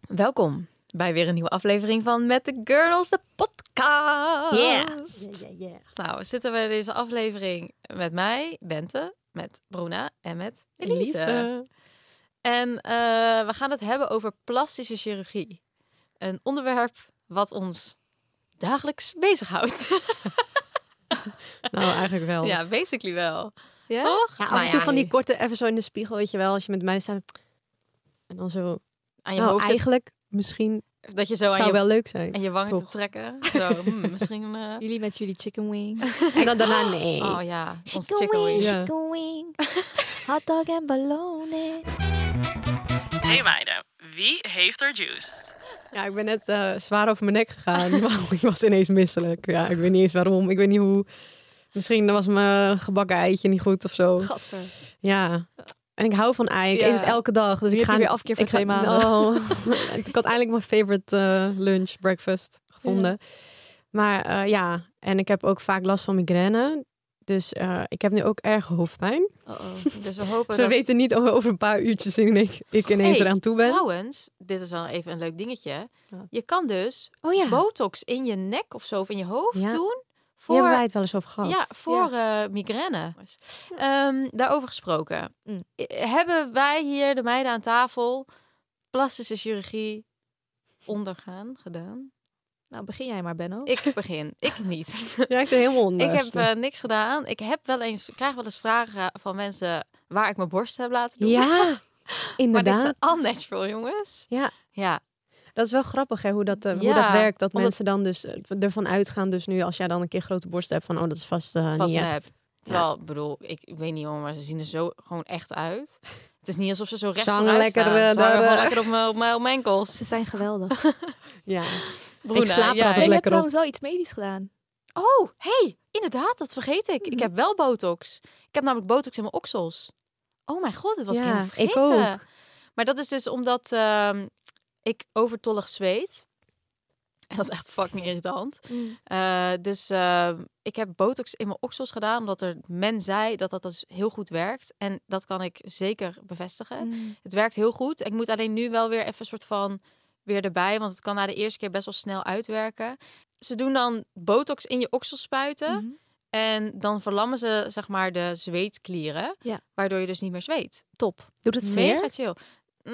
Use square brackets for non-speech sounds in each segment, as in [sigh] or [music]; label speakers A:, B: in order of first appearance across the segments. A: Welkom bij weer een nieuwe aflevering van Met de Girls, de podcast.
B: Ja, ja, ja.
A: Nou, zitten we in deze aflevering met mij, Bente, met Bruna en met Elise.
B: Elise.
A: En eh, we gaan het hebben over plastische chirurgie. Een onderwerp wat ons dagelijks bezighoudt.
B: [laughs] Nou, eigenlijk wel.
A: ja, basically wel.
B: Ja?
A: Toch?
B: Ja, af
A: Nou
B: en toe
A: ja,
B: van die korte, even zo in de spiegel, weet je wel, als je met mij staat. En dan zo,
A: Aan je
B: nou,
A: hoofd
B: eigenlijk, misschien
A: dat je zo aan
B: zou
A: je,
B: wel leuk zijn.
A: en je wangen te
B: Toch.
A: trekken. Zo, hmm,
B: [laughs]
A: misschien... eh,
C: Jullie met jullie [laughs] chicken wing.
B: En dan daarna, nee.
A: Oh ja, ons
B: Chicken
A: chicken
B: wing.
A: wing.
B: Ja.
C: [laughs] wing. Hot dog en ballonen.
D: hey meiden, wie heeft er juice?
B: Ja, ik ben net eh, zwaar over mijn nek gegaan. [laughs] Wauw, ik was ineens misselijk. Ja, ik weet niet eens waarom, ik weet niet hoe. Misschien was mijn gebakken eitje niet goed of zo.
C: Gadver.
B: Ja. En ik hou van ei. Ik
C: Ja.
B: eet het elke dag. Dus ik
C: Nu heb
B: ga
C: je weer afkeer voor
B: ik ga-
C: twee
A: [laughs]
C: maanden.
B: Oh. [laughs] ik had eindelijk mijn favorite eh, lunch, breakfast gevonden. Maar eh, ja, en ik heb ook vaak last van migraine. Dus eh, ik heb nu ook erg hoofdpijn.
A: Dus we hopen
B: [laughs] Dus we
A: dat...
B: weten niet of we over een paar uurtjes in ik, ik ineens
A: Hey,
B: eraan toe ben.
A: Trouwens, dit is wel even een leuk dingetje.
B: Wat?
A: Je kan dus
B: oh ja,
A: botox in je nek of zo of in je hoofd
B: Ja.
A: doen
B: hier hebben wij
A: voor,
B: het wel eens over gehad.
A: ja, voor eh, migraine. Ehm, daarover gesproken.
C: Mm.
A: I- Hebben wij hier de meiden aan tafel plastische chirurgie ondergaan, gedaan?
C: Nou, begin jij maar, Benno.
A: Ik begin.
B: [laughs]
A: Ik niet.
B: Ja, ik zit helemaal onder.
A: Ik heb eh, niks gedaan. Ik heb wel eens, ik krijg wel eens vragen van mensen waar ik mijn borst heb laten doen.
B: [laughs]
A: [laughs]
B: Ja,
A: maar dit
B: inderdaad.
A: is unnatural, jongens.
B: Ja.
A: Ja,
B: Dat is wel grappig, hè, hoe dat, eh, hoe
A: Ja,
B: dat werkt. Dat
A: omdat-
B: mensen dan dus eh, ervan uitgaan, dus nu als jij dan een keer grote borst hebt, van oh, dat is vast, eh,
A: vast
B: niet
A: een
B: echt.
A: app. Terwijl, ik bedoel, ik, ik weet niet hoor, maar ze zien er zo gewoon echt uit. Het is niet alsof ze zo recht
B: Ze hangen
A: vooruit
B: lekker,
A: staan.
B: eh,
A: Ze hangen
B: daar,
A: gewoon
B: eh.
A: lekker op mijn, op mijn, op mijn enkels.
C: Ze zijn geweldig.
B: Ja.
A: Bruna,
B: ik slaap er
A: jij?
B: altijd
C: ik heb
B: lekker op.
C: trouwens wel iets medisch gedaan.
A: Oh, hey, inderdaad, dat vergeet ik. Ik heb wel botox. Ik heb namelijk botox in mijn oksels. Oh mijn god, dat was ik
B: Ja,
A: helemaal
B: ik
A: vergeten.
B: ook.
A: Maar dat is dus omdat ehm, ik overtollig zweet. En dat is echt fucking irritant.
C: Mm.
A: Eh, dus eh, ik heb botox in mijn oksels gedaan, omdat er men zei dat dat dus heel goed werkt. En dat kan ik zeker bevestigen.
C: Mm.
A: Het werkt heel goed. Ik moet alleen nu wel weer even een soort van weer erbij, want het kan na de eerste keer best wel snel uitwerken. Ze doen dan botox in je oksels spuiten
C: Mhm.
A: en dan verlammen ze zeg maar de zweetklieren,
C: Ja.
A: waardoor je dus niet meer zweet.
C: Top.
B: Doet het
A: Mega
B: zeer?
A: chill.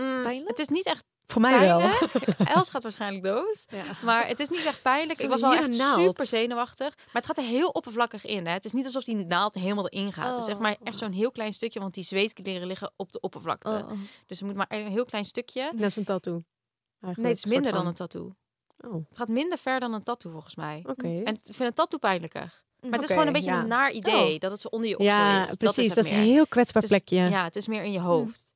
A: Mm,
C: Pijnlijk?
A: het is niet echt
B: Voor mij wel.
A: pijnlijk.
B: [laughs]
A: Els gaat waarschijnlijk dood. Maar het is niet echt pijnlijk.
B: Ze
A: Ik was wel
B: hebben
A: echt
B: hier een naald.
A: super zenuwachtig. Maar het gaat er heel oppervlakkig in. Hè. Het is niet alsof die naald helemaal erin gaat. Het is echt
C: Oh.
A: maar echt zo'n heel klein stukje. Want die zweetklieren liggen op de oppervlakte.
C: Oh, oh.
A: Dus het moet maar een heel klein stukje.
B: Dat is een tattoo. Eigenlijk,
A: nee, het is
B: een soort
A: minder dan
B: van.
A: een tattoo.
B: Oh,
A: Het gaat minder ver dan een tattoo volgens mij.
B: oké.
A: En ik vind een tattoo pijnlijker. Maar het is
B: Oké,
A: gewoon een beetje
B: ja. Oh.
A: een naar idee. Dat het zo onder je oksel
B: Ja,
A: is.
B: precies. Dat is, Dus,
A: het meer.
B: een heel kwetsbaar
A: Het is-
B: plekje.
A: Ja, het is meer in je hoofd.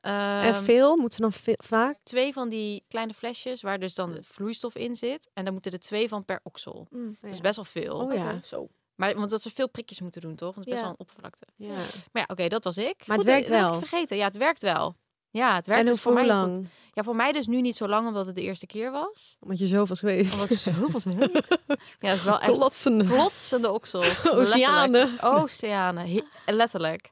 B: en
A: Ehm,
B: veel? Moeten ze dan ve- vaak?
A: twee van die kleine flesjes waar dus dan de vloeistof in zit. En daar moeten er twee van per oksel.
C: Mm.
A: Dus best wel veel.
B: Oh ja.
C: Zo.
A: Maar want dat ze veel prikjes moeten doen, toch? Want het is best
C: Ja.
A: wel een oppervlakte.
B: ja.
A: Maar ja, oké, dat was ik.
B: Maar het
A: Goed,
B: werkt
A: dat was
B: wel.
A: ik vergeten. Ja, het werkt wel. Ja, het werkt
B: En hoe
A: dus voor
B: voor
A: mij
B: lang?
A: goed. Ja, voor mij dus nu niet zo lang, omdat het de eerste keer was.
B: Omdat je zoveel zweet.
A: Omdat ik
B: [laughs]
A: zoveel zweet. Ja, het is wel echt
B: Klotsende
A: klotsende oksels.
B: oceanen.
A: Letterlijk. Oceanen, he- letterlijk.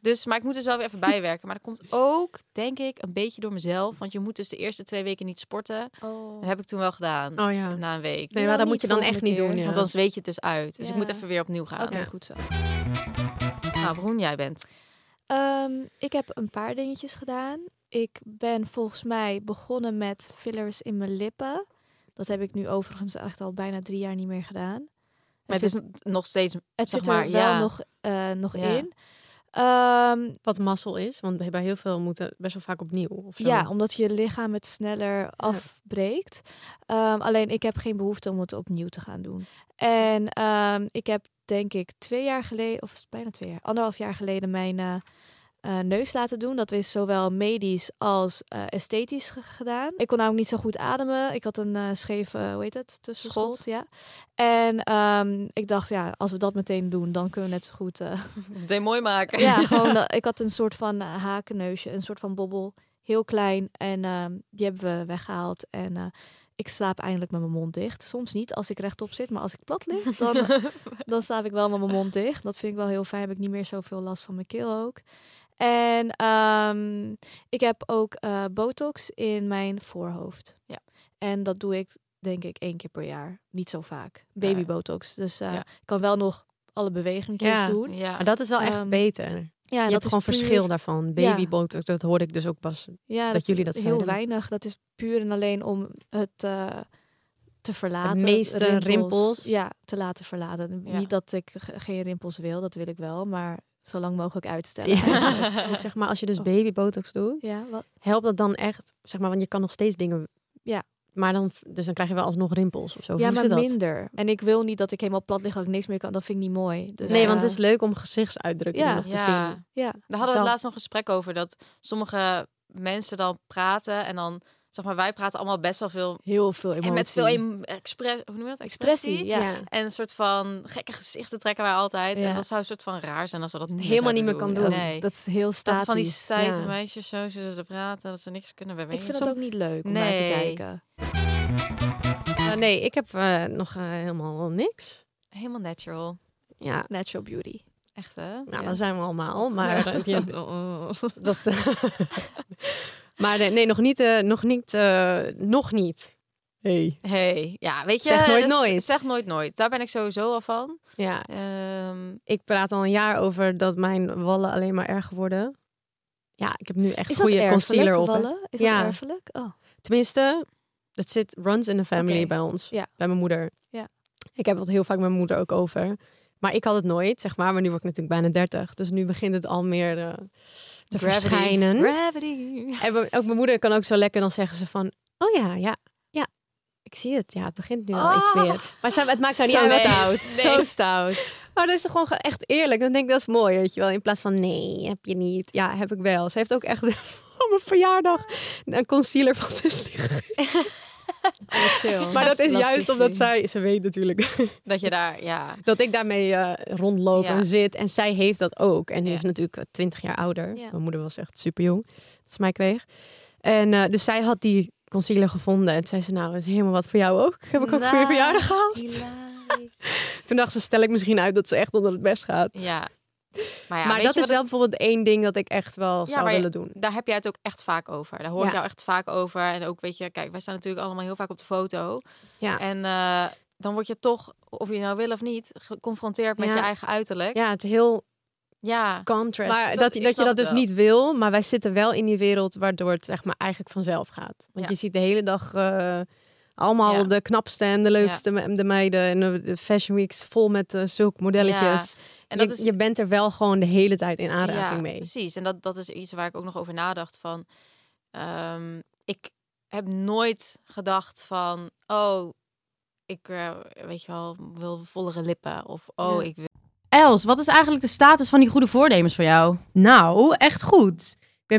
A: Dus, maar ik moet dus wel weer even bijwerken. Maar dat komt ook, denk ik, een beetje door mezelf. Want je moet dus de eerste twee weken niet sporten. Dat
C: Oh.
A: heb ik toen wel gedaan,
B: Oh ja.
A: na een week.
B: Nee, maar dat moet je dan echt niet
C: volgende
B: doen.
C: keer.
B: Ja.
A: Want dan zweet je het dus uit. Dus ik
C: Ja.
A: moet even weer opnieuw gaan.
C: Oké,
B: Ja.
C: goed zo.
A: Nou, Broen, jij bent.
C: Ehm, ik heb een paar dingetjes gedaan. Ik ben volgens mij begonnen met fillers in mijn lippen. Dat heb ik nu overigens echt al bijna drie jaar niet meer gedaan.
A: Maar het is nog steeds
C: Het
A: zeg
C: zit er
A: maar,
C: wel
A: ja.
C: nog, eh, nog
A: Ja.
C: in. Ehm,
B: Wat mazzel is, want bij heel veel moeten best wel vaak opnieuw. Of zo.
C: ja, omdat je lichaam het sneller afbreekt. Ehm, alleen ik heb geen behoefte om het opnieuw te gaan doen. En ehm, ik heb denk ik twee jaar geleden, of is het bijna twee jaar, anderhalf jaar geleden mijn eh, eh, neus laten doen. Dat is zowel medisch als eh, esthetisch ge- gedaan. Ik kon namelijk niet zo goed ademen. Ik had een eh, scheve, eh, hoe heet het, tussenschot.
A: Schot.
C: Ja. En ehm, ik dacht, ja, als we dat meteen doen, dan kunnen we net zo goed... eh,
A: De mooi maken.
C: [laughs] ja,
B: [laughs]
C: gewoon, dat- ik had een soort van eh, hakenneusje, een soort van bobbel. Heel klein. En ehm, die hebben we weggehaald. En eh, ik slaap eindelijk met mijn mond dicht. Soms niet als ik rechtop zit, maar als ik plat
B: [laughs]
C: lig, dan, dan slaap ik wel met mijn mond dicht. Dat vind ik wel heel fijn. Heb ik niet meer zoveel last van mijn keel ook. En ehm, ik heb ook eh, botox in mijn voorhoofd.
A: Ja.
C: En dat doe ik denk ik één keer per jaar. Niet zo vaak.
A: Ja.
C: Baby botox. Dus eh,
A: Ja.
C: ik kan wel nog alle bewegingjes
B: Ja.
C: doen.
A: Ja.
B: Maar dat is wel echt
C: Ehm,
B: beter.
C: Ja,
B: je hebt gewoon
C: puur-
B: verschil daarvan.
C: Ja.
B: Baby botox, dat hoor ik dus ook pas.
C: Ja,
B: dat
C: is
B: jullie dat
C: heel
B: zeiden.
C: weinig. Dat is puur en alleen om het eh, te verlaten.
B: De meeste rimpels.
C: Ja, te laten verlaten.
A: Ja.
C: Niet dat ik ge- geen rimpels wil, dat wil ik wel, maar zo lang mogelijk uitstellen. eigenlijk.
B: [laughs] Ja. ook zeg maar, als je dus baby botox doet,
C: [laughs] ja, wat?
B: helpt dat dan echt? Zeg maar, want je kan nog steeds dingen.
C: Ja.
B: Maar dan, dus dan krijg je wel alsnog rimpels of zo.
C: ja
B: Hoe
C: maar
B: zit dat?
C: minder. En ik wil niet dat ik helemaal plat lig, dat ik niks meer kan. Dat vind ik niet mooi. Dus,
B: nee, want
C: eh,
B: het is leuk om gezichtsuitdrukkingen
C: Ja.
B: nog te
A: Ja.
B: zien.
C: Ja,
A: Daar hadden we
B: Zo.
A: het laatst nog gesprek over. Dat sommige mensen dan praten en dan... Zeg maar, wij praten allemaal best wel veel...
C: heel veel emotie.
A: En met veel em- expre- hoe noem je dat?
C: expressie. Ja.
B: Ja.
A: En een soort van gekke gezichten trekken wij altijd.
C: Ja.
A: En dat zou een soort van raar zijn als we dat niet meer
B: Helemaal
A: zouden
B: niet meer kan
A: doen.
B: doen.
A: Nee. Dat,
C: Dat is heel statisch.
A: van die stijve
B: ja.
A: meisjes zo zitten te praten, dat ze niks kunnen
C: ik
A: bewegen.
C: vind het ook niet leuk om naar
A: Nee.
C: te kijken.
B: Eh, nee, ik heb eh, nog eh, helemaal niks.
A: Helemaal natural.
B: Ja,
C: Natural beauty.
A: Echt, hè?
B: nou,
A: Ja.
B: dan zijn we [laughs] allemaal. Maar, eh, ja, dat, eh, [laughs] maar eh, nee, nog niet. eh, nog niet. eh, nog niet. Hey.
A: Hey, ja, weet je...
B: Zeg nooit
A: dus
B: nooit.
A: Zeg nooit nooit. Daar ben ik sowieso al van.
B: Ja,
A: Ehm,
B: ik praat al een jaar over dat mijn wallen alleen maar erger worden. Ja, ik heb nu echt
C: Is dat
B: goede
C: erfelijk,
B: concealer op. hè.
C: Wallen? Is
B: Ja.
C: dat erfelijk? Oh.
B: Tenminste, dat zit runs in de family
C: Oké.
B: bij ons.
C: Ja.
B: Bij mijn moeder.
C: Ja.
B: Ik heb het heel vaak met mijn moeder ook over. Maar ik had het nooit, zeg maar. Maar nu word ik natuurlijk bijna 30. Dus nu begint het al meer eh, te
A: Gravity.
B: verschijnen.
A: Gravity.
B: En mijn- ook mijn moeder kan ook zo lekker dan zeggen ze van... Oh ja, ja, ja. Ik zie het. Ja, het begint nu al iets
A: Oh.
B: meer. Maar ze- het maakt nou niet
C: Ah. Zo
B: uit.
C: stout.
A: [laughs] Nee.
C: Zo stout.
B: [laughs] Maar dat Nou, is toch gewoon ge- echt eerlijk. Dan denk ik, dat is mooi, weet je wel. In plaats van, nee, heb je niet. Ja, heb ik wel. Ze heeft ook echt [laughs] voor mijn verjaardag een concealer van zes liggen.
A: [laughs]
B: Maar dat is juist omdat zij... Ze weet natuurlijk [laughs]
A: Dat je daar, ja.
B: dat ik daarmee eh, rondloop
A: Ja.
B: en zit. En zij heeft dat ook. En die
A: Ja.
B: is natuurlijk eh, twintig jaar ouder.
C: Ja.
B: Mijn moeder was echt super jong dat ze mij kreeg. En eh, dus zij had die concealer gevonden. En zei ze, nou, dat is helemaal wat voor jou ook. Heb ik ook voor je verjaardag gehaald. Toen dacht ze, stel ik misschien uit dat ze echt onder het best gaat.
A: Ja. Maar, ja,
B: maar
A: weet
B: dat
A: je
B: is
A: wat-
B: wel bijvoorbeeld één ding dat ik echt wel zou
A: maar je-
B: willen doen.
A: Daar heb jij het ook echt vaak over. Daar hoor
B: Ja.
A: ik jou echt vaak over. En ook, weet je, kijk, wij staan natuurlijk allemaal heel vaak op de foto.
B: Ja.
A: En eh, dan word je toch, of je nou wil of niet, geconfronteerd met
B: Ja.
A: je eigen uiterlijk.
B: Ja, het heel
A: Ja.
B: contrast.
A: Ik
B: Maar
A: snap-
B: dat,
A: ik
B: dat je
A: snap
B: dat
A: het
B: dus
A: wel.
B: niet wil. Maar wij zitten wel in die wereld waardoor het zeg maar eigenlijk vanzelf gaat. Want
A: Ja.
B: je ziet de hele dag eh, allemaal
A: Ja.
B: de knapste en de leukste me- de meiden. En de, de fashion weeks vol met eh, zulke modelletjes.
A: En
B: je,
A: dat is
B: je bent er wel gewoon de hele tijd in aanraking
A: ja,
B: mee.
A: Precies. En dat, dat is iets waar ik ook nog over nadacht. Van, ehm, ik heb nooit gedacht van, oh, ik eh, weet je wel, wil vollere lippen. Of oh,
B: Ja.
A: ik wil.
E: Els, wat is eigenlijk de status van die goede voornemens voor jou?
F: Nou, echt goed. Ik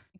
E: Ik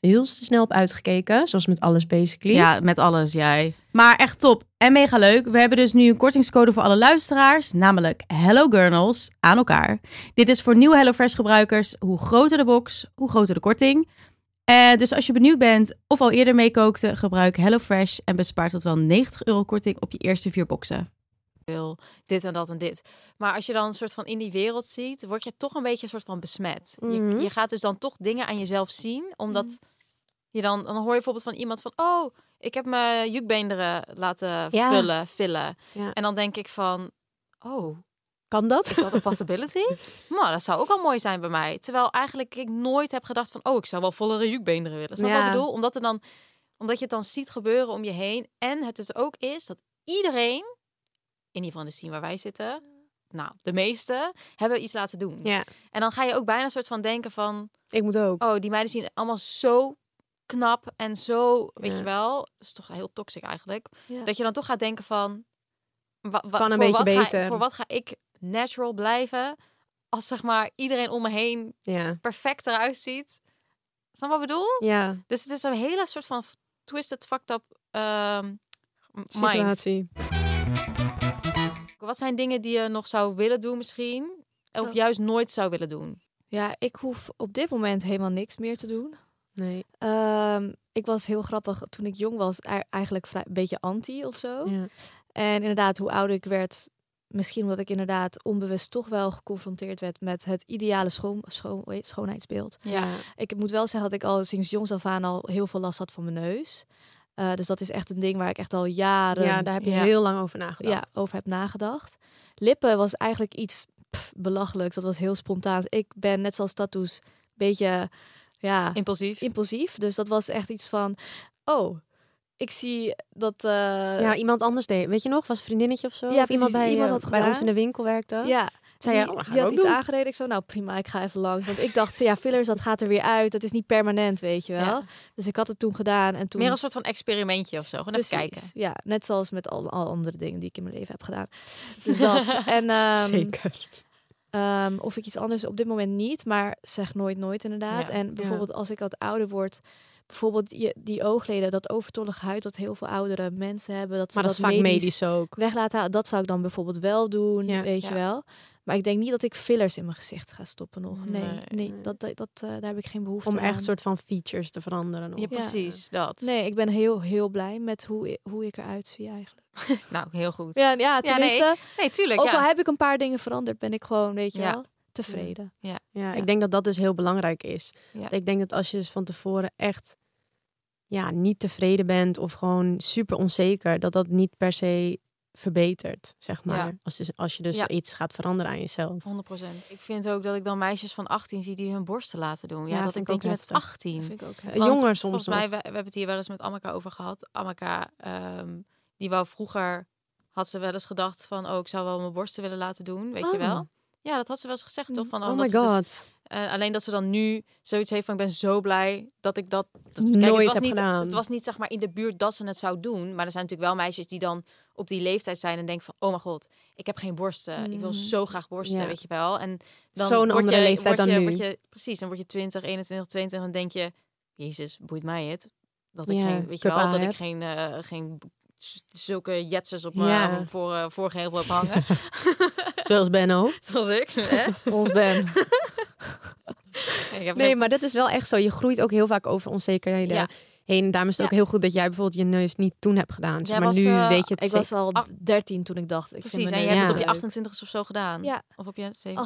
F: heel snel op uitgekeken. Zoals met alles basically.
E: Ja, met alles, jij. Maar echt top en mega leuk. We hebben dus nu een kortingscode voor alle luisteraars, namelijk Hello Gurnals aan elkaar. Dit is voor nieuwe HelloFresh gebruikers. Hoe groter de box, hoe groter de korting. Eh, dus als je benieuwd bent of al eerder meekookte, gebruik HelloFresh en bespaart tot wel 90 euro korting op je eerste vier boxen.
A: wil dit en dat en dit. Maar als je dan een soort van in die wereld ziet, word je toch een beetje een soort van besmet.
B: Mhm.
A: je, je gaat dus dan toch dingen aan jezelf zien, omdat je dan, dan hoor je bijvoorbeeld van iemand van, oh, ik heb mijn jukbeenderen laten
B: Ja.
A: vullen, vullen.
B: Ja.
A: En dan denk ik van, oh,
B: Kan dat?
A: is dat een possibility? nou, dat zou ook wel mooi zijn bij mij. Terwijl eigenlijk ik nooit heb gedacht van... oh, ik zou wel vollere jukbeenderen willen. Snap je wat
B: Ja.
A: ik bedoel? Omdat, er dan, omdat je het dan ziet gebeuren om je heen. En het dus ook is dat iedereen... in ieder geval in de scene waar wij zitten... nou, de meesten hebben iets laten doen.
B: Ja.
A: En dan ga je ook bijna een soort van denken van...
B: Ik moet ook.
A: oh, die meiden zien er allemaal zo knap en zo... weet
B: Ja.
A: je wel, dat is toch heel toxic eigenlijk.
C: Ja.
A: Dat je dan toch gaat denken van... wa- wa-
B: kan een
A: voor
B: beetje
A: wat ga-
B: beter.
A: voor wat ga ik natural blijven als zeg maar iedereen om me heen
B: Ja.
A: perfect eruit ziet? Snap je wat ik bedoel?
B: Ja,
A: Dus het is een hele soort van f- twisted, fucked up ehm mind.
B: situatie.
A: Wat zijn dingen die je nog zou willen doen misschien? Of
C: Oh.
A: juist nooit zou willen doen?
C: [laughs] Ja, ik hoef op dit moment helemaal niks meer te doen.
B: Nee.
C: Ehm, ik was heel grappig toen ik jong was, ei- eigenlijk vrij- een beetje anti of zo.
B: Ja.
C: En inderdaad, hoe ouder ik werd, misschien omdat ik inderdaad onbewust toch wel geconfronteerd werd met het ideale schoon, schoon, hoe heet het? schoonheidsbeeld.
A: Ja.
C: Ik moet wel zeggen dat ik al sinds jongs af aan al heel veel last had van mijn neus. Eh, dus dat is echt een ding waar ik echt al jaren
B: ja, daar heb je
A: Ja.
B: heel lang over nagedacht.
C: ja, over heb nagedacht. Lippen was eigenlijk iets pff, belachelijks. Dat was heel spontaan. Ik ben net zoals tattoos een beetje ja,
A: Impulsief?
C: impulsief. Dus dat was echt iets van, oh, ik zie dat... eh,
B: Ja, iemand anders deed. Weet je nog? Was een vriendinnetje of zo?
C: Ja,
B: Of
C: precies,
B: iemand bij,
C: iemand
B: eh,
C: had
B: bij
C: gedaan.
B: ons in de winkel werkte.
C: ja,
B: Zei jij,
C: die,
B: oh, dat ga
C: die
B: ik
C: had
B: ook
C: iets
B: doen.
C: aangereden. Ik zo, nou prima, ik ga even langs. Want ik dacht, ja, fillers, dat gaat er weer uit. Dat is niet permanent, weet je wel.
A: Ja.
C: Dus ik had het toen gedaan. En toen...
A: Meer een soort van experimentje of zo. Gewoon even
C: Precies,
A: kijken.
C: Ja, net zoals met al, al andere dingen die ik in mijn leven heb gedaan. Dus
B: [laughs]
C: dat. En, ehm,
B: Zeker.
C: Ehm, of ik iets anders op dit moment niet, maar zeg nooit nooit inderdaad.
A: Ja.
C: En bijvoorbeeld als ik wat ouder word, bijvoorbeeld je, die oogleden, dat overtollige huid dat heel veel oudere mensen hebben, dat ze
B: Maar dat is vaak
C: medisch
B: medisch ook.
C: weg laten halen, dat zou ik dan bijvoorbeeld wel doen,
B: Ja.
C: weet
A: Ja.
C: je wel. Maar ik denk niet dat ik fillers in mijn gezicht ga stoppen nog. Nee,
A: Nee,
C: nee, Dat, dat, dat, eh, daar heb ik geen behoefte
B: Om
C: aan.
B: echt soort van features te veranderen. nog.
A: Ja, precies. Dat.
C: Nee, ik ben heel, heel blij met hoe, i- hoe ik eruit zie eigenlijk.
A: Nou, heel goed.
C: Ja, ja
A: nee,
C: tenminste,
A: Nee, tuurlijk.
C: ook
A: ja.
C: al heb ik een paar dingen veranderd, ben ik gewoon, weet je
A: Ja.
C: wel, tevreden.
B: Ja,
C: Ja.
B: ik denk dat dat dus heel belangrijk is.
A: Ja.
B: Want Ik denk dat als je dus van tevoren echt ja, niet tevreden bent of gewoon super onzeker, dat dat niet per se verbetert, zeg maar.
A: Ja.
B: Als, dus, als je dus
A: Ja. Oh,
B: iets gaat veranderen aan jezelf.
A: 100%. Ik vind ook dat ik dan meisjes van 18 zie die hun borsten laten doen. Ja,
B: Ja,
A: dat
B: vind ik
A: ik
B: ook
A: denk je met
B: heftig.
A: 18.
C: Dat vind ik ook. hè.
A: Want
B: Jonger soms
A: Volgens
B: nog.
A: mij, we, we hebben het hier wel eens met Amaka over gehad. Amaka, ehm, die wou vroeger, had ze wel eens gedacht van, oh, ik zou wel mijn borsten willen laten doen, weet je
B: Oh.
A: wel? Ja, dat had ze wel eens gezegd, toch? Van,
B: Oh
A: omdat
B: my
A: ze dus- [laughs]
B: god.
A: eh, alleen dat ze dan nu zoiets heeft van, ik ben zo blij dat ik dat... dat
B: Nooit
A: het was
B: heb
A: niet,
B: gedaan.
A: Het was niet, zeg maar, in de buurt dat ze het zou doen. Maar er zijn natuurlijk wel meisjes die dan op die leeftijd zijn en denken van, oh mijn god, ik heb geen borsten. Ik wil zo graag borsten,
B: Mm. Ja.
A: weet je wel? En dan
B: Zo'n
A: word
B: andere
A: je-
B: leeftijd dan
A: word je,
B: nu.
A: Word je, precies, dan word je 20, 21, 22 en dan denk je, jezus, boeit mij het? Dat ik
B: Ja,
A: geen, weet je
B: cup
A: wel,
B: A
A: dat
B: heb.
A: ik geen, eh, geen z- zulke jetsers op mijn
B: Ja.
A: voor, eh, voorgevel heb hangen, [laughs]
B: Zoals Benno.
A: zoals ik. hè?
C: Ons Ben.
A: [laughs] Ik heb
B: Nee, maar dat is wel echt zo. Je groeit ook heel vaak over onzekerheden
A: Ja.
B: heen. Daarom is het ook heel goed dat jij bijvoorbeeld je neus niet toen hebt gedaan.
A: Jij
B: Zeg maar
A: was,
B: nu
A: eh,
B: weet je het
C: Ik was al
A: Ach.
C: 13 toen ik dacht. Ik vind
A: Precies, en
C: mijn
A: jij
C: neus
A: hebt het op
C: leuk.
A: je 28 of zo gedaan.
C: Ja.
A: Of op je
C: 28 e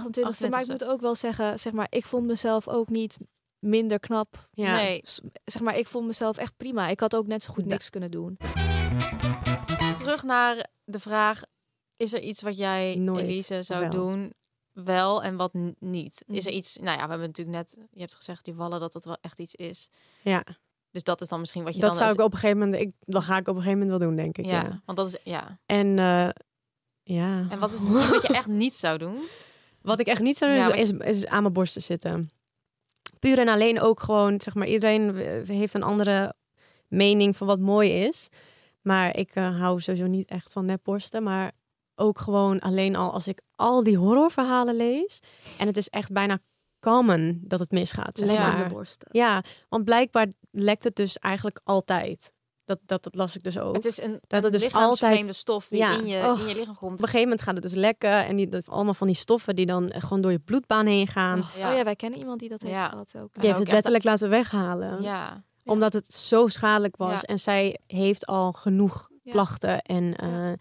C: Maar ik
A: 28ste.
C: moet ook wel zeggen, zeg maar, ik vond mezelf ook niet minder knap.
B: Ja.
A: Nee,
C: S- Zeg maar, ik vond mezelf echt prima. Ik had ook net zo goed
B: Da-
C: niks kunnen doen.
A: terug naar de vraag: is er iets wat jij,
B: Nooit,
A: Elise, zou
B: wel. Hm.
A: doen? Wel en wat n- niet? Is er
C: Mhm.
A: iets? Nou ja, we hebben natuurlijk net, je hebt gezegd, die wallen, dat dat wel echt iets is.
B: Ja.
A: Dus dat is dan misschien wat je
B: Dat
A: dan.
B: zou
A: als-
B: ik op een gegeven moment, ik, dat ga ik op een gegeven moment wel doen, denk ik.
A: ja,
B: Ja.
A: want dat is ja.
B: En eh, ja.
A: En wat is niet wat je echt niet zou doen?
B: [laughs] Wat ik echt niet zou doen,
A: Ja,
B: is, is, is aan mijn borsten zitten. Puur en alleen ook gewoon, zeg maar, iedereen eh, heeft een andere mening van wat mooi is. Maar ik eh, hou sowieso niet echt van nepborsten. Maar ook gewoon alleen al als ik al die horrorverhalen lees. En het is echt bijna common dat het misgaat. Zeg
A: Lekkende
B: maar.
C: borsten.
B: Ja, want blijkbaar lekt het dus eigenlijk altijd. Dat, dat, dat las ik dus ook.
A: Het is een,
B: Dat
A: een
B: het dus
A: lichaamsvreemde
B: altijd-
A: stof die
B: Ja. Oh.
A: in, je,
C: Och.
A: in je lichaam
B: Op
A: komt.
B: een gegeven moment gaat het dus lekken. En die, dat- allemaal van die stoffen die dan eh, gewoon door je bloedbaan heen gaan.
A: Ja.
C: Oh ja, wij kennen iemand die dat heeft
A: Ja.
C: gehad ook.
A: Ja.
B: Die heeft
A: ook
B: het
A: echt-
B: letterlijk laten weghalen.
A: ja.
B: Omdat het zo schadelijk was.
A: Ja.
B: En zij heeft al genoeg
C: Ja.
B: klachten en eh,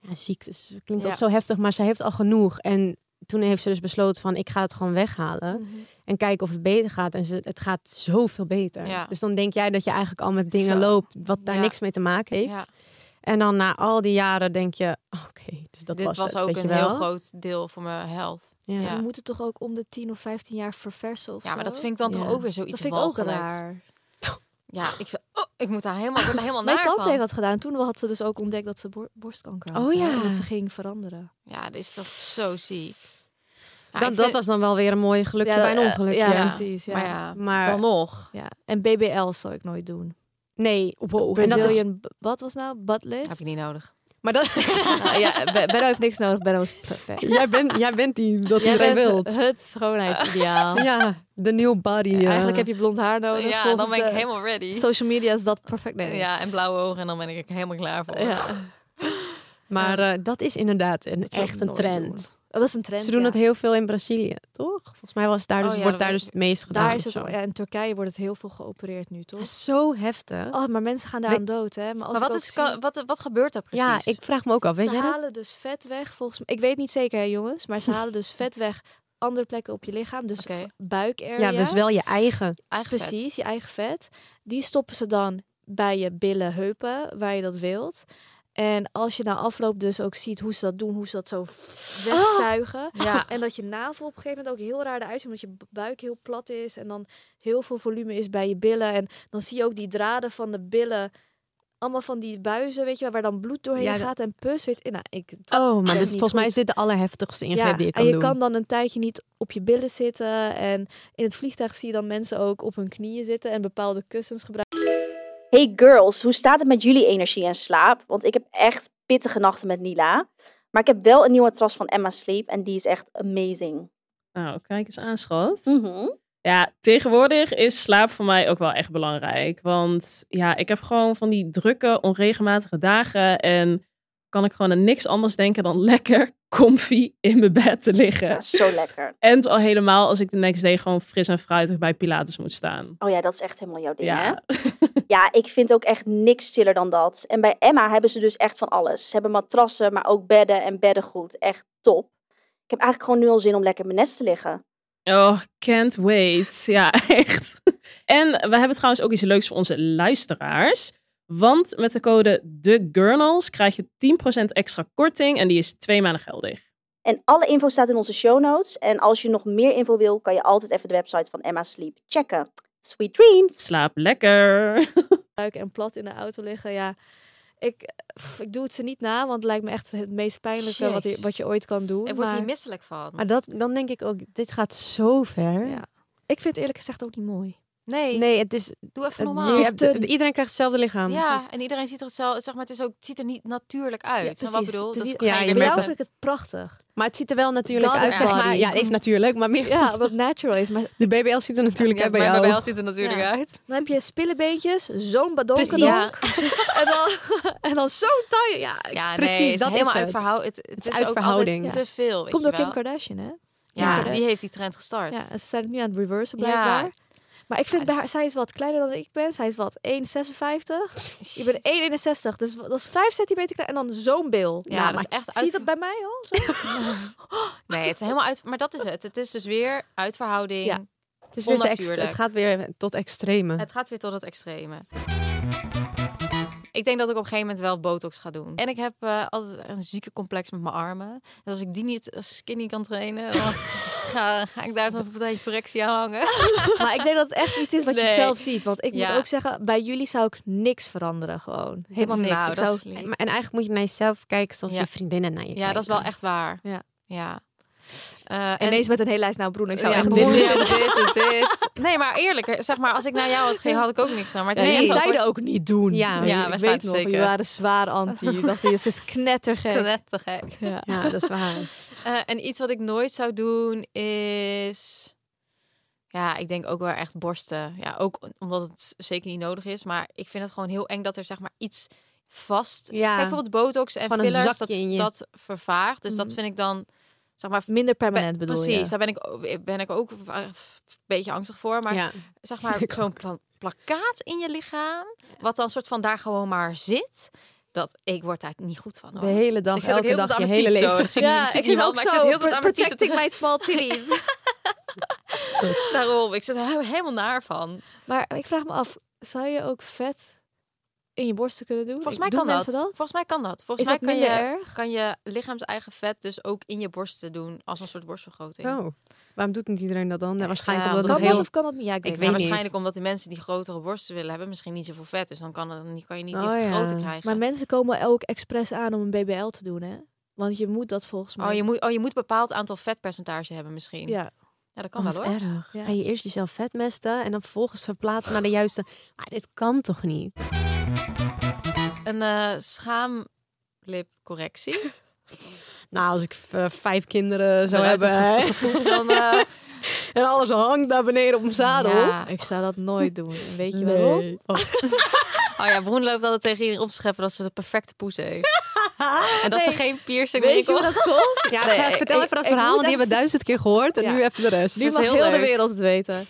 B: ja, ziektes. Klinkt
A: Ja.
B: dat zo heftig, maar ze heeft al genoeg. En toen heeft ze dus besloten van ik ga het gewoon
A: Mm.
B: weghalen.
A: Mhm.
B: En kijken of het beter gaat. En ze, het gaat zoveel beter.
A: Ja.
B: Dus dan denk jij dat je eigenlijk al met dingen
A: Zo.
B: loopt wat daar
A: Ja.
B: niks mee te maken heeft.
A: Ja.
B: En dan na al die jaren denk je, oké, dus dat
A: Dit was,
B: was, het,
A: ook
B: weet je
A: een
B: wel.
A: heel groot deel van mijn health.
B: Ja.
A: Ja.
C: We moeten toch ook om de 10 of 15 jaar verversen of
A: Ja, maar
C: zo?
A: dat vind ik dan toch
B: Ja.
A: ook weer
C: Dat
A: zoiets
C: vind ik ook
A: walgelijks.
C: raar.
A: Ja, ik, vind- oh, ik moet daar helemaal, ik word daar
C: [laughs]
A: helemaal
C: Mijn
A: naar
C: tante heeft
A: van.
C: dat gedaan. Toen had ze dus ook ontdekt dat ze bor- borstkanker had.
B: Oh
C: hè,
B: ja.
C: Dat ze ging veranderen.
A: Ja, dat is toch zo ziek. Ja,
B: Dan,
A: ik
B: Dat
A: vind-
B: was dan wel weer een mooi gelukje bij een
C: eh,
B: ongelukje.
C: Ja,
A: ja.
C: precies. Ja.
A: Maar ja,
B: Maar
A: dan nog.
C: Ja. En BBL zou ik nooit doen.
B: nee, wow. En dat is,
C: Brazilian, b- wat was nou? Butt lift?
A: Heb je niet nodig.
B: maar dat, [laughs]
C: Nou ja, Be- Benno heeft niks nodig. Benno is perfect.
B: jij, bent, jij bent die dat
C: Jij
B: iedereen
C: bent
B: wilt.
C: het schoonheidsideaal.
B: Ja, de new body. [laughs] eh. ja.
C: Eigenlijk heb je blond haar nodig.
A: Ja, dan
C: volgens,
A: ben ik
C: eh,
A: helemaal ready.
C: Social media is dat perfect. Nee,
A: Ja, en blauwe ogen en dan ben ik er helemaal klaar voor.
C: Ja.
B: Maar eh, dat is inderdaad een,
C: zou
B: echt
C: ik
B: een
C: nooit
B: trend.
C: doen. Dat is een trend.
B: Ze doen
C: ja.
B: het heel veel in Brazilië, toch? Volgens mij was daar
A: Oh
B: dus,
A: ja,
B: wordt
A: dat
B: daar
A: weet
B: dus het meest gedaan.
C: Daar is het,
B: of zo.
C: ja, in Turkije wordt het heel veel geopereerd nu,
B: Dat
C: toch?
B: is zo heftig.
C: Oh, maar mensen gaan daar aan dood, hè? Maar, als
A: Maar wat,
C: ik ook
A: is,
C: zie-
A: kan- wat, wat gebeurt daar precies?
B: ja, ik vraag me ook af. Weet
C: ze
B: jij dat?
C: halen dus vet weg, volgens mij. Ik weet niet zeker, hè, jongens. Maar
B: [laughs]
C: ze halen dus vet weg andere plekken op je lichaam. Dus
A: Oké.
C: v- buik area.
B: Ja, dus wel je eigen.
A: Eigen vet.
C: Precies, je eigen vet. Die stoppen ze dan bij je billen, heupen, waar je dat wilt. En als je na afloop dus ook ziet hoe ze dat doen, hoe ze dat zo
A: Oh!
C: wegzuigen.
A: Ja,
C: En dat je navel op een gegeven moment ook heel raar eruit ziet, omdat je bu- buik heel plat is en dan heel veel volume is bij je billen. En dan zie je ook die draden van de billen, allemaal van die buizen, weet je wel, waar dan bloed doorheen
B: Ja, dat-
C: gaat en pus. Weet, nou, ik,
B: [laughs] Oh,
C: is
B: maar dit,
C: niet
B: volgens mij is dit de allerheftigste ingreep
C: ja,
B: die je
C: en
B: kan
C: je
B: doen.
C: kan dan een tijdje niet op je billen zitten. En in het vliegtuig zie je dan mensen ook op hun knieën zitten en bepaalde kussens gebruiken.
G: Hey girls, hoe staat het met jullie energie en slaap? Want ik heb echt pittige nachten met Nila. Maar ik heb wel een nieuwe matras van Emma Sleep en die is echt amazing.
D: Nou, kijk eens aan, schat.
G: Mhm.
D: Ja, tegenwoordig is slaap voor mij ook wel echt belangrijk. Want ja, ik heb gewoon van die drukke, onregelmatige dagen. En kan ik gewoon aan niks anders denken dan [laughs] lekker comfy in mijn bed te liggen.
G: Ja, zo lekker.
D: En al helemaal als ik de next day gewoon fris en fruitig bij Pilates moet staan.
G: Oh ja, dat is echt helemaal jouw ding, hè?
D: Ja,
G: Ja, ik vind ook echt niks stiller dan dat. En bij Emma hebben ze dus echt van alles. Ze hebben matrassen, maar ook bedden en beddengoed. Echt top. Ik heb eigenlijk gewoon nu al zin om lekker in mijn nest te liggen.
D: oh, can't wait. Ja, [laughs] echt. En we hebben trouwens ook iets leuks voor onze luisteraars. Want met de code TheGurnals krijg je 10% extra korting en die is twee maanden geldig.
G: En alle info staat in onze show notes. En als je nog meer info wil, kan je altijd even de website van Emma Sleep checken. Sweet dreams!
D: Slaap lekker.
C: En plat in de auto liggen, ja. Ik, pff, ik doe het ze niet na, want het lijkt me echt het meest pijnlijke wat je,
A: Jeez.
C: wat je ooit kan doen.
A: ik word hier
C: maar-
A: misselijk van.
B: Maar dat, dan denk ik ook, dit gaat zo ver.
C: Ja. Ik vind het eerlijk gezegd ook niet mooi.
A: Nee,
B: Nee, het is...
A: doe even
B: het-
A: normaal.
B: je
C: Het is
B: hebt-
C: dun.
B: iedereen krijgt hetzelfde lichaam.
A: ja,
B: precies.
A: en iedereen ziet er hetzelfde. Zeg maar, het, is ook, het ziet er niet natuurlijk uit.
C: Ja,
A: Snap je wat ik
C: precies.
A: bedoel?
C: Het is
A: Dat
C: niet-
A: ga
B: ja,
A: je
B: je
A: weer
C: Bij
B: merkt
A: weg.
C: jou
B: dat-
C: vind ik het prachtig.
B: Maar het ziet er wel natuurlijk
C: Dat
B: uit,
C: is
B: zeg
C: body.
B: maar. Ja, het is natuurlijk, maar meer...
C: Ja, wat natural is. Maar
B: De BBL ziet er natuurlijk
A: Ja,
B: uit bij
A: bij
B: jou.
A: mij ziet er natuurlijk
C: Ja.
A: uit.
C: dan heb je spillebeentjes, zo'n badonkadonk.
B: Precies.
C: [laughs] En dan, en dan zo'n taille. Ja, ik-
A: Ja,
B: Precies,
A: nee, het is
B: dat is
A: helemaal
B: het.
A: uit verhouding. Het, het,
B: is
A: is,
B: uit
A: ook
B: verhouding.
A: altijd
B: Ja.
A: te veel. Weet
C: Komt
A: je
C: door Kim
A: wel.
C: Kardashian, hè?
A: Ja,
C: Kim
A: die heeft die trend gestart.
C: Ja, en ze zijn het nu aan het reversen,
A: Ja.
C: blijkbaar. Maar ik vind,
A: Ja,
C: bij
A: dus-
C: haar, zij Ah, is wat kleiner dan ik ben. Zij is wat, 1,56? Je bent 1,61, dus dat is 5 centimeter klein. En dan zo'n bil.
A: Ja,
C: Nou,
A: dat
C: maar
A: is echt
C: Zie je
A: uit...
C: dat bij mij al? Zo?
A: Nee, het is helemaal uit... Maar dat is het. Het is dus weer uit verhouding.
C: Ja.
B: Het, is weer te ext-
A: Onnatuurlijk.
B: het gaat weer tot extreme.
A: Het gaat weer tot het extreme. Ik denk dat ik op een gegeven moment wel botox ga doen. En ik heb eh, altijd een zieke complex met mijn armen. Dus als ik die niet skinny kan trainen, dan [laughs] ga, ga ik daar zo'n partij correctie aan hangen.
C: [laughs] maar ik denk dat het echt iets is wat je
A: Nee.
C: zelf ziet. Want ik
A: Ja.
C: moet ook zeggen, bij jullie zou ik niks veranderen gewoon. Helemaal niks.
A: Nou,
C: ik
A: dat
C: zou
A: is lief.
B: En, maar- en eigenlijk moet je naar jezelf kijken zoals
A: Ja.
B: je vriendinnen naar je
A: Ja, dat is wel echt waar.
C: Ja.
A: ja. Eh, en
C: ineens met een hele lijst, nou broer, ik zou
A: ja,
C: echt
A: broer,
C: dit
A: ja, dit
B: [laughs]
A: en dit. Nee, maar eerlijk, zeg maar, als ik naar jou had gegeven, had ik ook niks aan.
C: [laughs]
A: Maar het is
C: Nee,
A: echt
C: we
A: ook
C: zeiden ook niet doen.
B: Ja,
A: ja,
C: ik
A: wij
C: weet
A: zeiden
C: nog,
A: zeker.
C: we waren zwaar anti. Je [laughs] dacht, je is knettergek.
A: wel knettergek.
C: Ja.
B: Ja, dat is waar.
A: [laughs] Eh, en iets wat ik nooit zou doen is. Ja, ik denk ook wel echt borsten. Ja, ook omdat het zeker niet nodig is. Maar ik vind het gewoon heel eng dat er zeg maar iets vast.
B: Ja.
A: Kijk, bijvoorbeeld botox en
B: Gewoon een
A: fillers. Dat,
B: zakje in je.
A: dat vervaagt. Dus dat
C: Mhm.
A: vind ik dan. Zeg maar,
C: Minder
A: ben-
C: permanent bedoel
A: precies,
C: je.
A: daar ben ik, ook- ben ik ook een beetje angstig voor. Maar
B: ja.
A: zeg maar zo'n pla- plakkaat in je lichaam. Wat dan soort van daar gewoon maar zit. dat ik word daar niet goed van.
B: De
A: Hoor.
B: hele dag,
A: ik zit ook
B: elke
A: heel
B: dag,
A: de
B: je
A: tijd aan
B: hele
A: mijn tiet zo.
B: leven.
A: Dat zie je niet- zie ik niet wel, maar ik zit heel de tijd aan mijn tieten
C: protecting my small titties.
A: [laughs] te- [laughs] Daarom, ik zit er helemaal naar van.
C: maar ik vraag me af, zou je ook vet in je borsten kunnen doen?
A: Volgens
C: Ik-
A: mij
C: doen
A: kan dat.
C: mensen dat.
A: Volgens mij kan dat.
C: is
A: Volgens
C: dat
A: mij kan
C: minder
A: je,
C: erg?
A: kan je lichaams-eigen vet dus ook in je borsten doen als een soort borstvergroting.
B: Oh, waarom doet niet iedereen dat dan? Nou, waarschijnlijk
A: Ja,
B: omdat
C: Kan
B: het
A: omdat
C: dat
B: heel...
C: of kan dat niet? Ja, ik,
B: Ik
C: weet
A: Maar
B: weet
C: het.
B: niet.
A: waarschijnlijk omdat die mensen die grotere borsten willen hebben misschien niet zoveel vet. Dus dan kan, het, dan kan je niet die
B: Oh, ja.
A: grote krijgen.
C: Maar mensen komen ook expres aan om een BBL te doen, hè? Want je moet dat volgens mij.
A: Oh, je moet, oh, je moet een bepaald aantal vetpercentage hebben misschien. Ja,
C: Ja.
A: dat kan
B: Oh,
A: wel
B: dat
A: hoor.
B: is erg.
C: Ja.
B: Ga je eerst jezelf vetmesten en dan vervolgens verplaatsen naar de juiste... Maar dit kan toch niet?
A: Een eh schaamlipcorrectie.
B: Nou, als ik eh, vijf kinderen zou
A: Eruit
B: hebben hè,
A: dan, eh,
B: en alles hangt daar beneden op mijn zadel...
A: Ja.
C: Ik zou dat nooit doen. En weet je
B: Nee.
C: waarom?
A: Oh ja, Broen loopt altijd tegen iedereen op te scheppen dat ze de perfecte poes heeft. En dat ze geen piercing
C: Weet
A: meer
C: je hoe dat komt?
B: Ja,
A: Nee,
B: ga-
A: ik-
B: vertel
C: ik-
B: even dat
C: ik
B: verhaal,
C: moet
B: want die
C: even-
B: hebben we duizend keer gehoord. En
C: Ja.
B: nu even de rest.
C: Nu
A: is
C: mag
A: heel
C: heel, de
A: leuk.
C: wereld het
B: [laughs]
C: weten.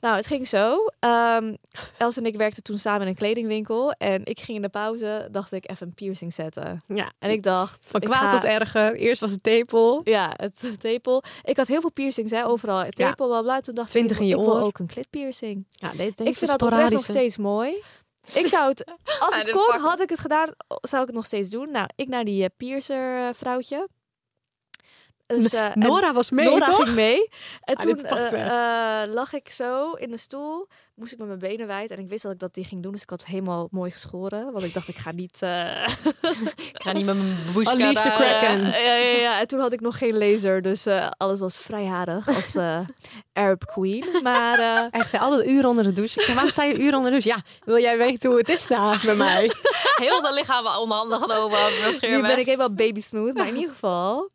C: nou, het ging zo. Ehm, Els en ik werkten toen samen in een kledingwinkel. En ik ging in de pauze, dacht ik, even een piercing zetten.
B: Ja.
C: En ik dacht...
B: Van
C: ik
B: kwaad
C: ga-
B: was erger. Eerst was het tepel.
C: Ja, het tepel. Ik had heel veel piercings, hè, overal. Het
B: Ja.
C: tepel, bla, bla. Toen dacht
B: Twintig
C: ik,
B: in je
C: ik wil
B: oor.
C: ook een clitpiercing.
B: Ja, dit,
C: Ik vind dat oprecht nog steeds mooi. Ik zou
B: [laughs]
C: het, als het
A: dit
C: kon,
A: pak-
C: had ik het gedaan, zou ik het nog steeds doen. Nou, ik naar die eh, piercer eh,
B: [laughs]
C: vrouwtje. Dus, eh, en-
B: Nora was mee,
C: Nora
B: toch?
C: ging mee. En
B: Ah,
C: toen
B: dit pakt
C: eh,
B: weg.
C: eh, lag ik zo in de stoel. Moest ik met mijn benen wijd. En ik wist dat ik dat die ging doen. Dus ik had het helemaal mooi geschoren. Want ik dacht, ik ga niet...
B: [laughs]
C: eh,
A: Ik ga niet met mijn bushka
B: Unleash the
A: daar, eh,
B: Kraken.
C: [laughs] ja, ja, ja, ja. En toen had ik nog geen laser. Dus eh, alles was vrijharig als eh,
B: [laughs]
C: Arab Queen. Maar eh,
B: Echt, hè, altijd uren onder de douche. Ik zei, waarom sta je uren onder de douche? Ja, wil jij weten hoe het is daar bij mij?
A: heel de lichaam onder handen genomen. over een
C: nu ben ik
A: scheermes.
C: helemaal baby smooth. Maar in
B: [laughs]
C: ieder geval...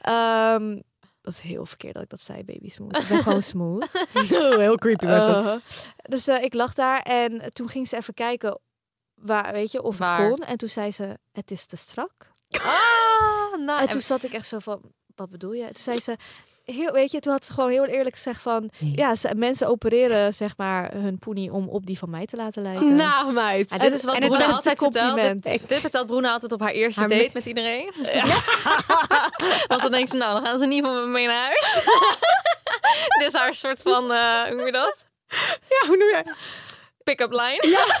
C: ehm, dat is heel verkeerd dat ik dat zei, baby smooth. Ik ben gewoon
B: [laughs]
C: smooth.
B: [laughs] Oh, heel creepy werd dat.
C: Uh-huh. Dus eh, ik lag daar en toen ging ze even kijken waar, weet je, of
A: Waar?
C: het kon. En toen zei ze, het is te strak.
A: Ah, nou,
C: en
A: en-
C: toen zat ik echt zo van, wat bedoel je? En toen zei ze, heel, weet je, toen had ze gewoon heel eerlijk gezegd van... Ja, ze- mensen opereren zeg maar hun poenie om op die van mij te laten lijken.
B: Nou, meid.
A: Ja, dit is wat
C: en het
A: Bruna
C: was
A: altijd
C: een
A: vertelt. Dit,
C: compliment.
A: dit vertelt Bruna altijd op haar eerste
B: Haar
A: date
B: me-
A: met iedereen. [laughs] Want dan denkt ze, nou, dan gaan ze niet van me mee naar huis. dit is haar soort van, eh, hoe noem je dat?
B: Ja, hoe nu?
A: Pick-up line. Ja.
C: [laughs]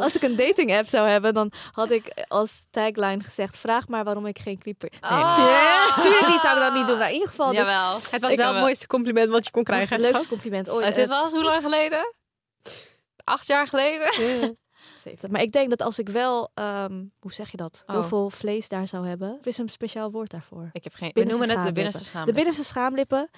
C: Als ik een dating app zou hebben, dan had ik als tagline gezegd... vraag maar waarom ik geen clipper... Nee,
A: Ah. Oh.
C: natuurlijk niet zou ik dat niet doen. Maar in ieder geval, dus
A: Jawel.
B: Het was wel het mooiste compliment wat je kon
C: dat is
B: krijgen.
C: het leukste compliment ooit.
A: Eh, dit was hoe lang geleden? Acht jaar geleden?
C: Zeker. Maar ik denk dat als ik wel, ehm, hoe zeg je dat,
A: Oh.
C: heel veel vlees daar zou hebben, of is er een speciaal woord daarvoor?
A: Ik heb geen... We
C: Binnenste
A: noemen het de
C: schaamlippen.
A: binnenste schaam.
C: De binnenste schaamlippen.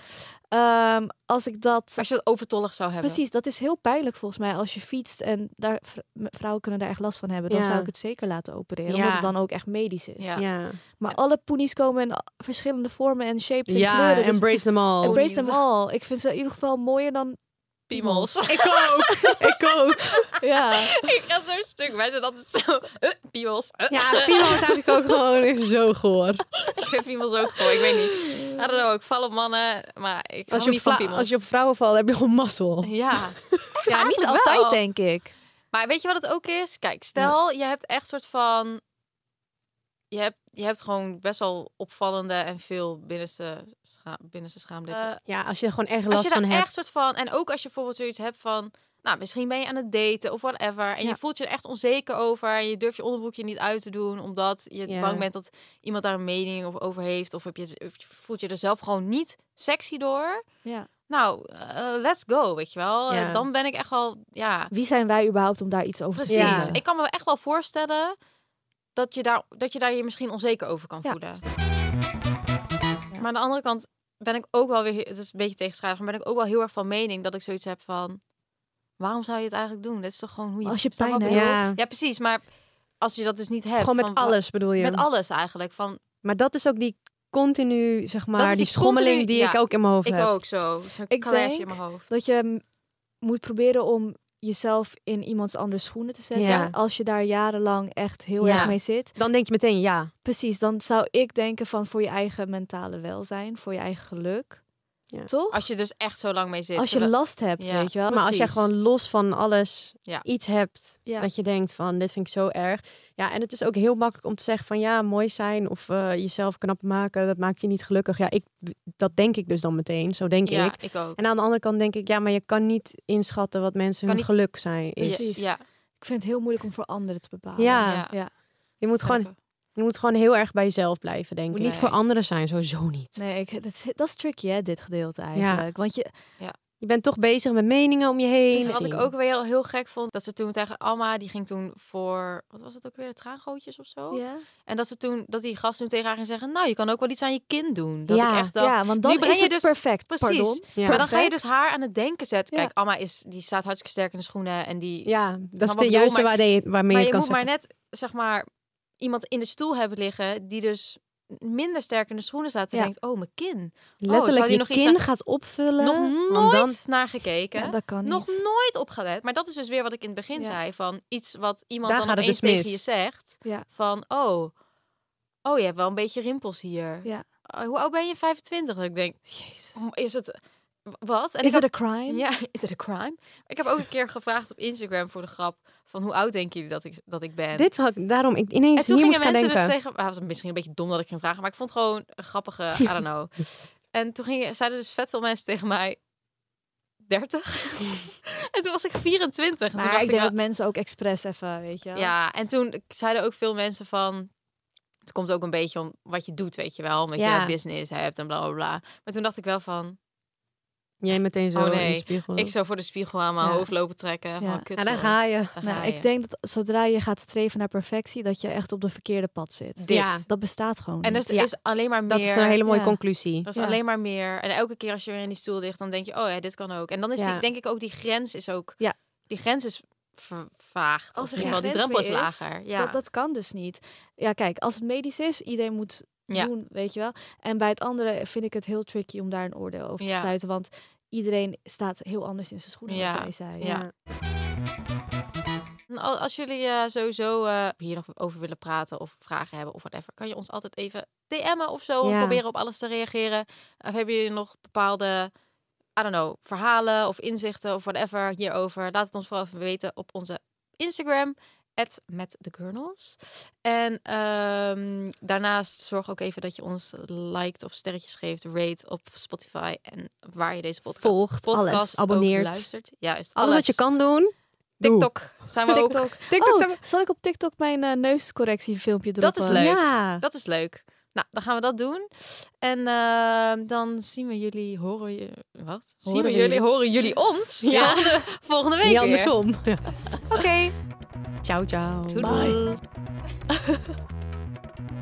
C: Ehm, als ik dat.
A: Als je dat overtollig zou hebben.
C: Precies, dat is heel pijnlijk volgens mij als je fietst en daar, vr- m- vrouwen kunnen daar echt last van hebben. Dan
B: Ja.
C: zou ik het zeker laten opereren,
B: Ja.
C: omdat het dan ook echt medisch is.
A: Ja.
B: Ja,
C: Maar alle poenies komen in verschillende vormen en shapes en
B: ja
C: kleuren. Dus
B: embrace them all.
C: embrace them all. Ik vind ze in ieder geval mooier dan...
A: Piemels.
B: Ik ook. Ik [laughs] ook.
C: Ja.
A: [laughs] ik ga zo'n stuk. Wij zijn altijd zo... eh, piemels. eh.
B: Ja, Pimo is eigenlijk ook gewoon [laughs] echt zo goor.
A: [laughs] Ik vind piemels ook gewoon. Ik weet niet. I don't know. Ik val op mannen, maar ik hou
B: Als je, op
A: niet van
B: vla-
A: piemels.
B: als je op vrouwen valt, heb je gewoon mazzel.
A: Ja.
C: ja, niet
A: eigenlijk
C: altijd
A: wel.
C: denk ik.
A: Maar weet je wat het ook is? Kijk, stel je hebt echt soort van... Je hebt, je hebt gewoon best wel opvallende en veel binnenste, scha binnenste schaamlippen.
B: Ja, als je er gewoon echt
A: als
B: last
A: je daar
B: van hebt.
A: echt soort van... En ook als je bijvoorbeeld zoiets hebt van... Nou, misschien ben je aan het daten of whatever. En
C: Ja.
A: je voelt je er echt onzeker over. En je durft je onderbroekje niet uit te doen. Omdat je
B: Ja.
A: bang bent dat iemand daar een mening of- over heeft. Of, heb je, of je voelt je er zelf gewoon niet sexy door.
C: Ja.
A: Nou, eh, let's go, weet je wel. Eh,
B: Ja.
A: dan ben ik echt wel... Ja,
C: Wie zijn wij überhaupt om daar iets over
A: Precies.
C: te zeggen?
A: Ik kan me echt wel voorstellen dat je daar, dat je, daar je misschien onzeker over kan
C: Ja.
A: voelen. Maar aan de andere kant ben ik ook wel weer, het is een beetje tegenstrijdig, maar ben ik ook wel heel erg van mening dat ik zoiets heb van, waarom zou je het eigenlijk doen? Dit is toch gewoon hoe je.
C: Als je
A: Snap wat
C: pijn
A: ik
C: hebt.
A: bedoel? Ja, precies. Maar als je dat dus niet hebt,
B: Gewoon met
A: van wa-
B: alles bedoel je?
A: met alles eigenlijk. Van
B: Maar dat is ook die continu, zeg maar,
A: Dat
B: die,
A: is die
B: schommeling
A: continu-
B: die
A: ja,
B: ik ook in mijn hoofd
A: ik
B: heb.
A: ook zo, zo'n
C: Ik
A: clash in
C: denk
A: mijn hoofd.
C: dat je m- moet proberen om jezelf in iemands anders schoenen te zetten.
B: Ja.
C: Als je daar jarenlang echt heel
B: Ja.
C: erg mee zit.
B: Dan denk je meteen ja.
C: Precies, dan zou ik denken van voor je eigen mentale welzijn, voor je eigen geluk. Toch?
A: Als je dus echt zo lang mee zit.
C: Als je
A: terwijl-
C: last hebt,
A: Ja.
C: weet je wel.
A: Maar
B: Maar als je
A: Precies.
B: gewoon los van alles
A: Ja.
B: iets hebt
C: Ja.
B: dat je denkt van dit vind ik zo erg. Ja, en het is ook heel makkelijk om te zeggen van ja, mooi zijn of eh, jezelf knap maken, dat maakt je niet gelukkig. Ja, ik, dat denk ik dus dan meteen, zo denk
A: ja,
B: ik.
A: ik ook.
B: En aan de andere kant denk ik, ja, maar je kan niet inschatten wat mensen
A: Kan
B: hun
A: niet-
B: geluk zijn. Is.
A: Ja, ja,
C: Dus Ik vind het heel moeilijk om voor anderen te bepalen.
B: Ja.
A: ja.
C: ja.
B: Je, moet gewoon, je moet gewoon heel erg bij jezelf blijven, denk
A: Moet
B: ik.
A: niet
B: Niet
A: voor
B: voor anderen zijn, sowieso niet.
C: Nee, ik, dat, is, dat is tricky hè, dit gedeelte eigenlijk. Want je,
B: Je bent toch bezig met meningen om je heen.
A: Dus wat ik ook weer heel, heel gek vond, dat ze toen tegen Alma, die ging toen voor, wat was het ook weer, de traangootjes of zo?
C: ja.
A: En dat ze toen, dat die gast toen tegen haar ging zeggen, nou, je kan ook wel iets aan je kind doen. Dat
B: Ja,
A: ik echt dacht,
C: ja, want dan
A: nu breng
C: is
A: je
C: het
A: dus-
C: perfect.
A: precies.
C: Pardon.
B: Ja.
A: Maar dan ga je dus
C: Perfect.
A: haar aan het denken zetten.
C: Ja.
A: Kijk, Alma is, die staat hartstikke sterk in de schoenen en die...
B: Ja, dat is
A: wat ik
B: de
A: bedoel,
B: juiste
A: maar-
B: waarde- waarmee
A: maar
B: je
A: je
B: het
A: moet
B: kan
A: maar
B: zeggen.
A: net, zeg maar, iemand in de stoel hebben liggen die dus minder sterk in de schoenen staat en
C: Ja.
A: denkt, oh, mijn kin. zou
B: Letterlijk
A: die
B: je
A: nog iets
B: kin
A: zeggen?
B: gaat opvullen.
A: Nog
B: want
A: nooit
B: dan-
A: naar gekeken.
C: Ja, dat kan
A: nog
C: niet.
A: nooit opgelet. Maar dat is dus weer wat ik in het begin
C: Ja.
A: zei. Van iets wat iemand
B: Daar
A: dan
B: gaat het
A: opeens
B: dus
A: tegen
B: mis.
A: je zegt.
C: Ja.
A: Van, oh, oh, je hebt wel een beetje rimpels hier.
C: Ja.
A: Oh, hoe oud ben je? 25? Dat ik denk, jezus. Is het, wat? En
C: Is
A: ik
C: het een crime?
A: ja, [laughs] is het een crime? Ik heb ook een keer gevraagd op Instagram voor de grap van hoe oud denken jullie dat ik, dat ik ben?
B: Dit wou ik daarom ik ineens
A: en toen
B: hier
A: gingen
B: moest gaan
A: mensen
B: denken.
A: dus tegen, ah, was misschien een beetje dom dat ik ging vragen, maar ik vond het gewoon een grappige, I don't know. En toen gingen, zeiden dus vet veel mensen tegen mij 30. [laughs] en toen was ik 24. En toen
C: Maar
A: dacht
C: ik denk
A: wel-
C: dat mensen ook expres even, weet je wel.
A: ja, en toen zeiden ook veel mensen van. Het komt ook een beetje om wat je doet, weet je wel. Omdat
B: Ja.
A: je business hebt en bla bla bla. Maar toen dacht ik wel van.
B: Jij meteen zo
A: Oh,
B: in
A: nee.
B: de spiegel.
A: Ik zou voor de spiegel aan mijn
C: Ja.
A: hoofd lopen trekken.
C: Ja.
A: Van, kut,
B: en dan
A: zo.
B: ga je.
A: Daar ga
C: Nou,
A: je.
C: ik denk dat zodra je gaat streven naar perfectie, dat je echt op de verkeerde pad zit.
A: dit.
B: Ja.
C: Dat bestaat gewoon
A: En
C: niet.
A: er
B: Ja.
A: is dus alleen maar meer.
B: Dat is een hele mooie
C: Ja.
B: conclusie.
A: Er is
C: Ja.
A: alleen maar meer. En elke keer als je weer in die stoel ligt, dan denk je, oh ja, dit kan ook. En dan is
B: Ja.
A: die, denk ik ook die grens is ook.
C: Ja.
A: Die grens is vervaagd. Als
C: Als
A: in ieder
C: er geen
A: geval, die
C: grens
A: drempel is
C: meer is,
A: lager. Ja.
C: dat, dat kan dus niet. Ja, kijk, als het medisch is, iedereen moet
A: Ja.
C: doen, weet je wel. En bij het andere vind ik het heel tricky om daar een oordeel over te
A: Ja.
C: sluiten. Want iedereen staat heel anders in zijn schoenen,
A: Ja.
C: wat jij zei.
A: Ja. En al- Als jullie eh, sowieso eh, hier nog over willen praten of vragen hebben of whatever, kan je ons altijd even DM'en of zo.
B: Ja.
A: En proberen op alles te reageren. Of hebben jullie nog bepaalde, I don't know, verhalen of inzichten of whatever hierover? Laat het ons vooral even weten op onze Instagram. Met de En ehm, daarnaast zorg ook even dat je ons liked of sterretjes geeft, rate op Spotify en waar je deze podcast,
B: Volgt, alles,
A: podcast ook
B: abonneert.
A: luistert. Juist,
B: Alles wat je kan doen. doe.
A: TikTok zijn we ook.
B: TikTok
C: Oh,
B: zijn we-
C: zal ik op TikTok mijn eh, neuscorrectiefilmpje
A: Dat
C: droppen?
A: is leuk.
B: Ja.
A: Dat is leuk. Nou, dan gaan we dat doen. En eh, dan zien we jullie, horen je, wat? zien
B: Horen
A: we
B: we
A: jullie,
B: jullie.
A: horen jullie ons
B: Ja.
A: volgende, [laughs] volgende week
B: Niet
A: weer.
B: andersom.
A: Oké.
B: Ciao, ciao.
A: Doei,
C: Bye.
A: doei.
H: [laughs]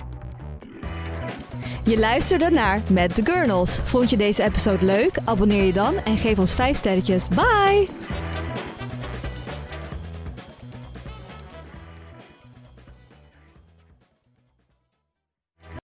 H: Je luisterde naar Met de Gurnals. Vond je deze episode leuk? Abonneer je dan en geef ons 5 sterretjes. Bye!